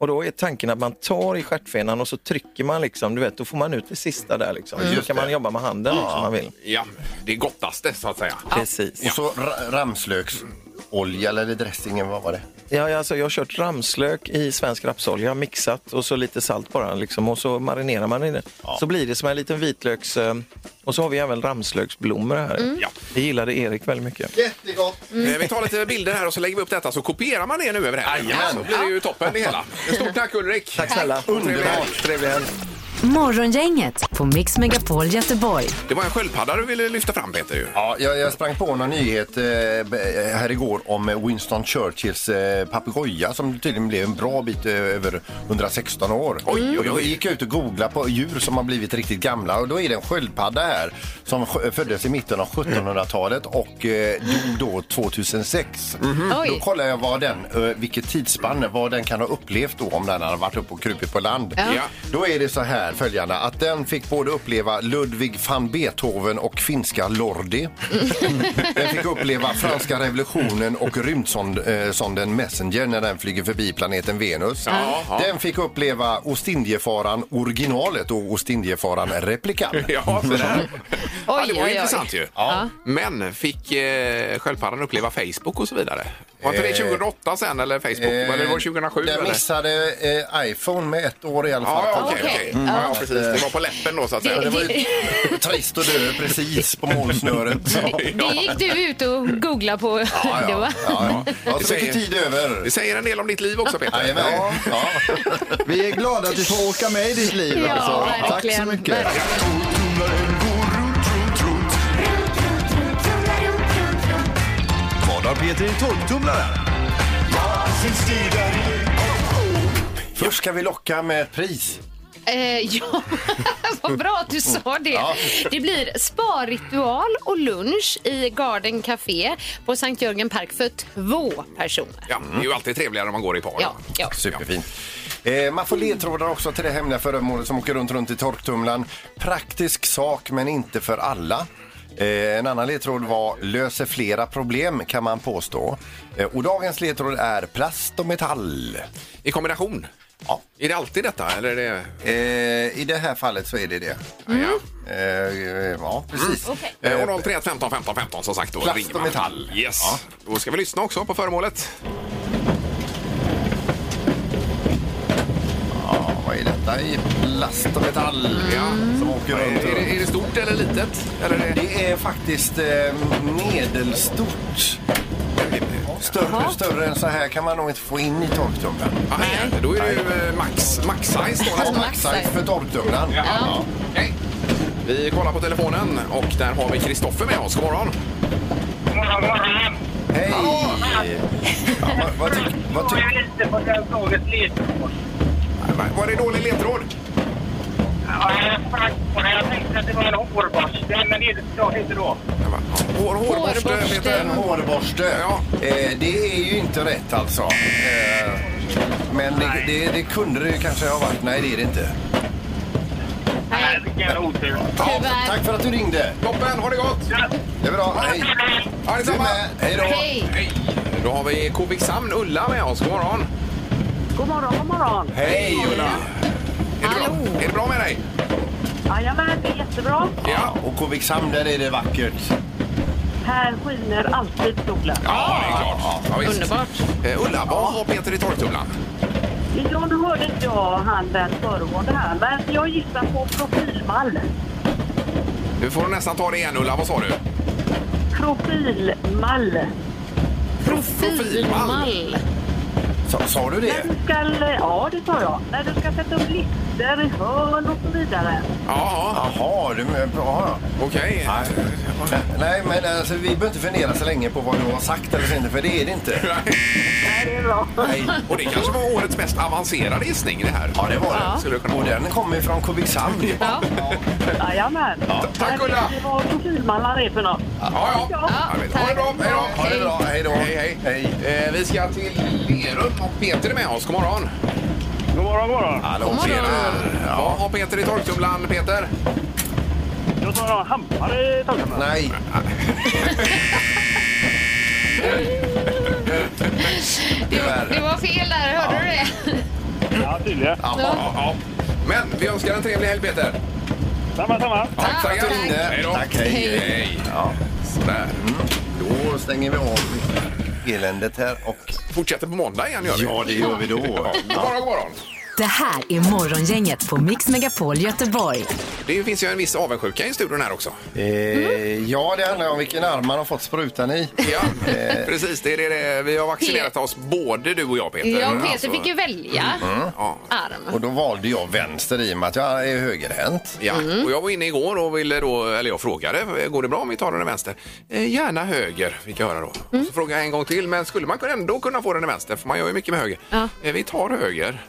Och då är tanken att man tar i stjärtfenan och så trycker man liksom, du vet, då får man ut det sista där liksom. Så
Just
kan
det.
man jobba med handen som man vill.
Ja, det gottaste så att säga.
Precis.
Och så ra- ramslöksolja eller dressingen, vad var det?
Ja, ja, alltså, jag har kört ramslök i svensk rapsolja, mixat och så lite salt bara liksom, och så marinerar man i det. Så blir det som en liten vitlöks... eh, Och så har vi även ramslöksblommor här.
Ja.
Det gillade Erik väldigt mycket.
Jättegott!
Eh, Vi tar lite bilder här och så lägger vi upp detta så kopierar man det nu över helgen.
Jajamän.
Så blir det ju toppen det hela. Stort tack Ulrik!
Tack snälla.
Underbart.
Trevlig helg.
Morgongänget på Mix Megapol Göteborg.
Det var en sköldpadda du ville lyfta fram Peter ju.
Ja, jag, jag sprang på någon nyhet eh, b- här igår om eh, Winston Churchills eh, papegoja som tydligen blev en bra bit eh, över 116 år.
oj,
Och då
oj.
gick jag ut och googlade på djur som har blivit riktigt gamla och då är det en sköldpadda här som sj- föddes i mitten av 1700-talet och eh, dog då 2006. Då
Mhm.
Oj.
kollar jag vad den, eh, vilket tidsspann, vad den kan ha upplevt då om den hade varit uppe och krupit på land.
Ja.
Då är det så här följande att den fick både uppleva Ludwig van Beethoven och finska Lordi. Den fick uppleva franska revolutionen och rymdsonden eh, Messenger när den flyger förbi planeten Venus.
Ja, ja.
Den fick uppleva Ostindiefaran originalet och Ostindiefaran replikan.
Ja, så där. ja, det
Oj,
var ju
oj,
intressant ju.
Ja.
Men fick eh, sköldpaddan uppleva Facebook och så vidare? Var inte det 2008 sen eller Facebook? eller var det 2007?
Eh, Den
eller?
missade eh, iPhone med ett år i alla fall. Mm.
Ja, okej.
Okej.
okej. Ja, ja, precis. Det var på läppen då så att säga.
Det var ju trist att dö precis på målsnöret. Ja,
Det gick du ut och googlade på.
ja,
Det var...
ja, ja. Jag har så
säger-
mycket tid
Det
över.
säger en del om ditt liv också Peter.
Jajamän. Ja.
Vi är glada att du får åka med i ditt liv.
Ja,
alltså. Tack så
verkligen.
mycket.
Verkligen.
Vad har Peter i tolvtumlaren?
Först ska vi locka med ett pris.
Eh, ja, vad bra att du sa det. Det blir sparritual och lunch i Garden Café på Sankt Jörgen Park för två personer.
Ja, det är ju alltid trevligare om man går i par.
Ja, ja.
Superfint. Eh, man får ledtrådar också till det hemliga föremålet som åker runt, runt i torktumlaren. Praktisk sak, men inte för alla. Eh, en annan ledtråd var löser flera problem, kan man påstå. Eh, och dagens ledtråd är plast och metall.
I kombination.
Ja.
Är det alltid detta? Eller är det...
Eh, I det här fallet så är det det.
Ja.
Eh, ja, precis.
okej.
Eh, och 031 15 15 15 som sagt. Då
Plast
ringer
och
man.
metall.
Yes. Då ska vi lyssna också på föremålet.
Ja, vad är detta i plast och metall
Ja.
som åker
Är,
runt?
är, det, är det stort eller litet? Eller är det...
Det är faktiskt eh, medelstort. Större, större än så här kan man nog inte få in i torktumlaren.
Ah, nej. Då är det ju eh, max, max size. Då,
Fast
nästan.
max size för torktumlaren.
Ja. Okej. Vi kollar på telefonen och där har vi Kristoffer med oss. God morgon.
Hej! Ja, vad, vad, tyck, vad, tyck,
inte på det här tåget lite.
Var det dålig ledtråd?
Jag tänkte att det var en hårborste, men det sa inte då.
Nej, va? Hår, hårborste,
Hårborste.
Peter.
en hårborste.
Ja.
Eh, det är ju inte rätt alltså. Eh, men det, det, det kunde det ju kanske ha varit. Nej, det är det inte.
Nej,
Vilken otur.
Ja,
tyvärr.
Tack för att du ringde.
toppen, ha det gott!
Det är bra. Hej!
Ja,
Du
detsamma!
med. Hej då!
Hej!
Hej! Då har vi Kovikshamn, Ulla med oss. God morgon!
God morgon, god morgon.
Hej Ulla! Är det, bra?
Hallå.
är det bra med dig?
Jajamän, det är jättebra.
Ja, och Kovikshamn där är det vackert.
Här skiner alltid solen.
Ja, det är klart. Ja, visst. Eh, Ulla, vad har Peter i torktumlaren?
Ja, nu hörde inte jag han den föregående här, men jag gissar på profilmall.
Nu får du nästan ta det igen Ulla, vad sa du?
Profilmall.
Profilmall.
Sa, sa du
När
det?
du ska, ja, det sa jag. När du ska sätta upp listor i hörn och så vidare.
Jaha.
Jaha, du men- ja.
Okej.
Nej. Nej, men alltså, vi behöver inte fundera så länge på vad du har sagt eller så inte, för det är det inte.
Nej, det är bra.
Nej. Och det kanske var årets mest avancerade gissning det här.
Ja, det var
Ja. Skulle
det.
det kunna
Och
vara.
den kommer från Kovikshamn.
Ja.
Jajamän.
Tack Ulla!
Det var profilmallar är för något.
Ja, ja. Ha det bra, hej då!
Ha det bra, hej då.
Hej, hej. Eh, vi ska till Lerum och Peter är med oss. God morgon!
God morgon, god morgon.
Hallå
morgon.
tjenare.
Vad har Peter i torktumlaren, Peter?
Jag tar några hampar i tankarna.
Nej,
Det var, det var fel där, hörde du det?
Ja, tydligen.
Ja, ja. Men vi önskar en trevlig helg, Peter.
Samma, samma.
tack för att du
Tack.
ringde.
Hej då.
Tack, hej.
Hej.
Hej.
Ja,
Sådär. Mm.
då stänger vi av eländet här och...
Fortsätter på måndag igen, gör vi.
Ja, det gör vi då.
Ja. God morgon, god morgon.
Det här är Morgongänget på Mix Megapol Göteborg.
Det finns ju en viss avundsjuka i studion här också.
Eh, ja, det handlar om vilken arm man har fått sprutan i.
Ja,
Eh.
precis. Det är det, det. Vi har vaccinerat oss, både du och jag, Peter.
Ja,
Alltså, Mm.
Peter fick ju välja
Ja.
arm.
Och då valde jag vänster i och med att jag är högerhänt.
Ja,
Mm.
och jag var inne igår och ville då, eller jag frågade, går det bra om vi tar den i vänster? Eh, gärna höger, fick jag höra då. Och
Mm.
Så frågade jag en gång till, men skulle man kunna- ändå kunna få den i vänster? För man gör ju mycket med höger.
Ja.
Eh, vi tar höger,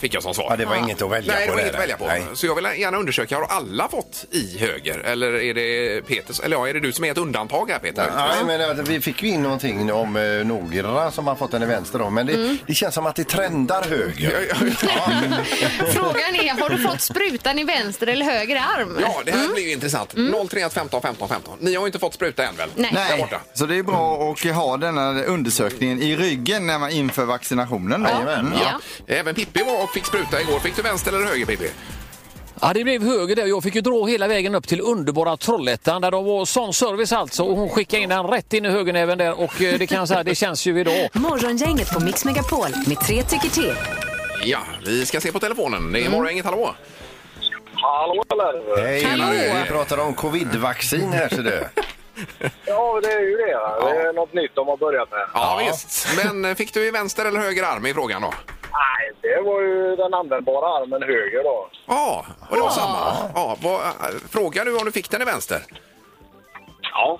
fick jag som svar.
Ja, det var inget att välja
Nej, det
på.
var inget att välja på.
Nej.
Så jag vill gärna undersöka, har alla fått i höger? Eller är det Peters, eller ja, är det du som är ett undantag här Peter?
Nej, men att vi fick ju in någonting om eh, några som har fått den i vänster då, men det,
Mm.
det känns som att det trendar höger.
Frågan är, har du fått sprutan i vänster eller höger arm?
Ja, det här
Mm.
blir ju intressant. 031 15 15 15. Ni har ju inte fått spruta än väl?
Nej.
Där borta.
Så det är bra att ha denna undersökningen i ryggen när man inför vaccinationen. Då.
Jajamän.
Ja.
Även Pippi var och fick spruta igår. Fick du vänster eller höger Pippi?
Ja, det blev höger där. Jag fick ju dra hela vägen upp till underbara Trollhättan där de var sån service alltså. Och hon skickade in den rätt in i högernäven där och eh, det kan jag säga, det känns ju idag.
Morgongänget på Mix Megapol med tre tycker till.
Ja, Mm. vi ska se på telefonen. Det är Morgongänget, hallå!
Hallå eller?
Hej,
Hallå.
vi pratar om covidvaccin här ser du.
Ja, det är ju det. Det är något nytt de har börjat med.
Ja, visst. Men eh, fick du i vänster eller höger arm i frågan då?
Nej, det var ju den användbara armen höger då.
Ja, och det var samma. Ja, vad, eh, frågar du om du fick den i vänster?
Ja.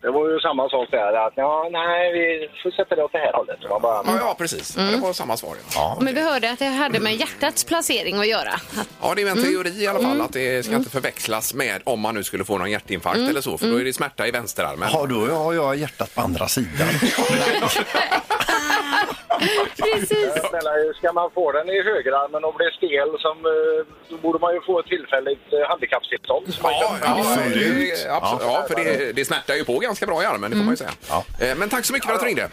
Det var ju samma sak där. Att, ja, nej, vi får sätta det åt det här hållet. Det var bara,
Mm.
Ja, ja precis. Ja, Det var samma svar. Mm. Ja,
Men vi hörde att det hade med hjärtats placering att göra. Att,
ja det är ju en teori i alla fall att det ska inte förväxlas med om man nu skulle få någon hjärtinfarkt eller så, för då är det smärta i vänsterarmen.
Ja, då har jag hjärtat på andra sidan.
precis.
snälla, ska man få den i högerarmen och bli stel som, eh, då borde man ju få ett tillfälligt eh, handikapptillstånd. Så man
Ja,
kan-
ja,
absolut.
det- absolut. ja, för det, det smärtar ju på ganska bra i armen, det får man ju säga. Eh, Men tack så mycket för att du ringde.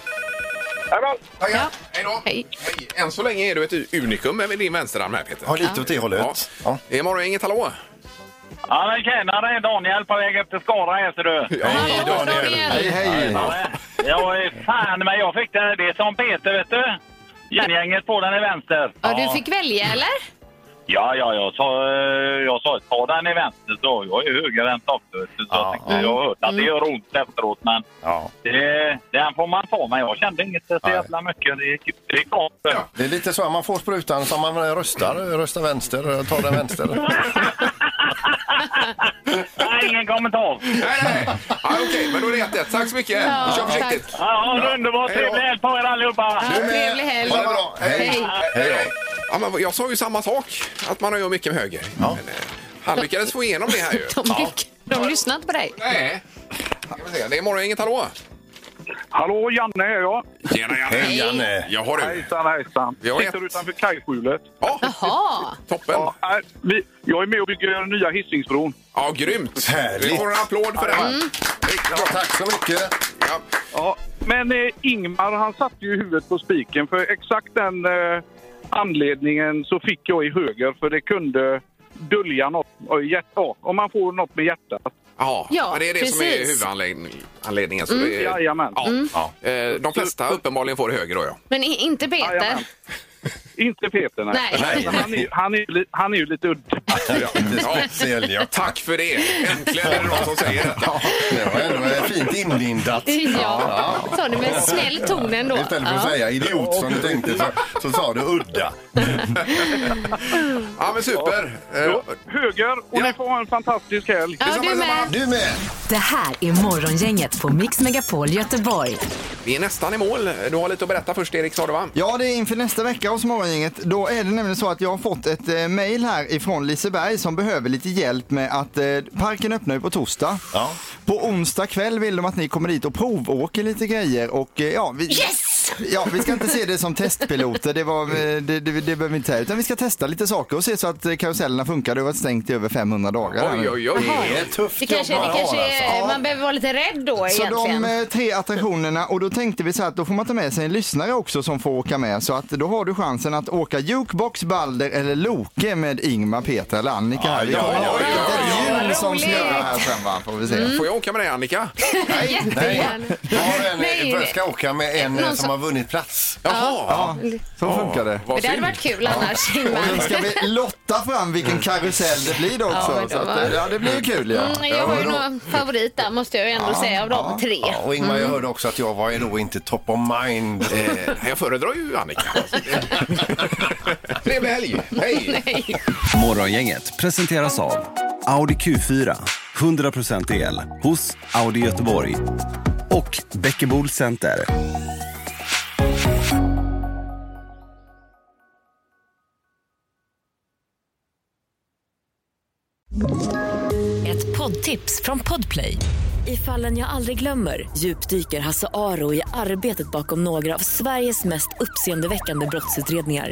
Jajamän.
Tackar. Hej då.
Hej.
Hej. Än så länge är du ett unikum med din vänsterarm här, Peter.
Har lite åt det
Ja.
hållet. Ja.
Är Morgongänget, hallå?
Ja, men tjena, det är Daniel på väg upp till Skara här ser du.
Hallå Daniel!
Hej, hej.
Ja, eh, fan men jag fick det. Det är som Peter, vet du. Gängänget på den i vänster.
Ja, du fick välja eller?
Ja, ja, jag sa, eh, jag sa ta den i vänster. Så jag är högerhänt också. vet du. Så
Ja,
jag, tänkte, jag har hört att det gör
Mm.
ont efteråt, men
Ja.
det, den får man ta. Men jag kände inget så jävla mycket. Det gick det gick av.
Det är lite så att man får sprutan som man eh, röstar. Rösta vänster, ta den vänster.
Nej, ingen kommentar.
Nej, nej. Ja, Okej, men då är det 1-1. Tack så mycket.
Ja,
Kör försiktigt.
Ja, det är underbart.
Hej då.
Trevlig helg på er allihopa!
Ja, trevlig helg.
Ha det bra. Hej.
Hej.
Hej då.
Ja, men jag sa ju samma sak, att man gör mycket med höger. Men, eh, han lyckades få igenom det här ju.
De, lyck- de lyssnade inte på dig.
Nej. Ska vi se. Det är Morgongänget, hallå?
Hallå, Janne är jag.
Tjena, Janne.
Hej, Janne.
Ja, har du.
Hejsan, hejsan.
Vi har ett.
Sitter utanför kajskjulet.
Ja,
Jaha.
toppen.
Ja, nej, vi, jag är med och bygger nya Hisingsbron.
Ja, grymt.
Härligt.
Vi får en applåd för det här.
Ja, tack så mycket.
Ja.
Ja, men eh, Ingmar han satte ju huvudet på spiken för exakt den eh, anledningen så fick jag i höger för det kunde dölja något. Oj, Hjärta, om man får något med hjärtat.
Ja,
Ja,
men det är det som är
precis.
huvudanledningen. Så
Mm.
det är,
Jajamän.
Ja, ja. Eh, De flesta uppenbarligen får det högre då, ja.
Men i- inte Peter?
Inte Peter, nej.
Nej. Nej.
Han, är, han, är, li- han är ju lite udda.
speciell, ja.
Tack för det! Äntligen är det någon som säger detta.
Det var ändå eh, fint inlindat.
Ja, sa du med en snäll ton ändå.
Istället för att
Ja.
säga idiot som du tänkte så, så sa du udda.
Ja, men super! Eh,
Ja. Höger, och ni får ha en fantastisk helg.
Ja, du med.
Du med!
Det här är Morgongänget på Mix Megapol Göteborg.
Vi är nästan i mål. Du har lite att berätta först, Erik, sa du va?
Ja, det är inför nästa vecka hos Morgongänget. Då är det nämligen så att jag har fått ett eh, mejl här ifrån Liseberg som behöver lite hjälp med att eh, parken öppnar ju på torsdag. På onsdag kväll vill de att ni kommer dit och provåker lite grejer och eh, ja, vi...
Yes!
Ja, vi ska inte se det som testpiloter, det, var, eh, det, det, det behöver vi inte säga. Utan vi ska testa lite saker och se så att eh, karusellerna funkar. Det har varit stängt i över 500 dagar. här nu.
Oj, oj, oj.
Det är tufft
Det kanske, det kanske
alltså.
är, man behöver vara lite rädd då
Så
egentligen.
de eh, tre attraktionerna och då tänkte vi så här att då får man ta med sig en lyssnare också som får åka med så att då har du chansen att åka jukebox, Balder eller Loke med Ingmar, Peter eller Annika här. Vi
ja,
kommer
ja,
ha
ja,
ett
ja.
hjul som
Roligt.
snurrar här sen va, får vi se.
Mm.
Får jag åka med dig, Annika?
Jättegärna.
Nej,
Nej,
jag ska åka med en
Någon
eh, som
som-
har vunnit plats.
Ja, så funkar det.
Men Det hade varit kul annars. Ingmar.
Och nu ska vi lotta fram vilken karusell det blir då också.
Ja, men det
så att, eh,
var-
ja, det blir ju kul ja.
Mm, jag har ju några favorit där måste jag ju ändå säga av de tre.
Ja, och Ingmar,
Mm.
jag hörde också att jag var ju då inte top of mind.
Eh, jag föredrar ju Annika. Trevlig helg! Hej!
Morgongänget presenteras av Audi Q4, 100% el hos Audi Göteborg och Bäckebol Center.
Ett poddtips från Podplay. I fallen jag aldrig glömmer djupdyker Hasse Aro i arbetet bakom några av Sveriges mest uppseendeväckande brottsutredningar.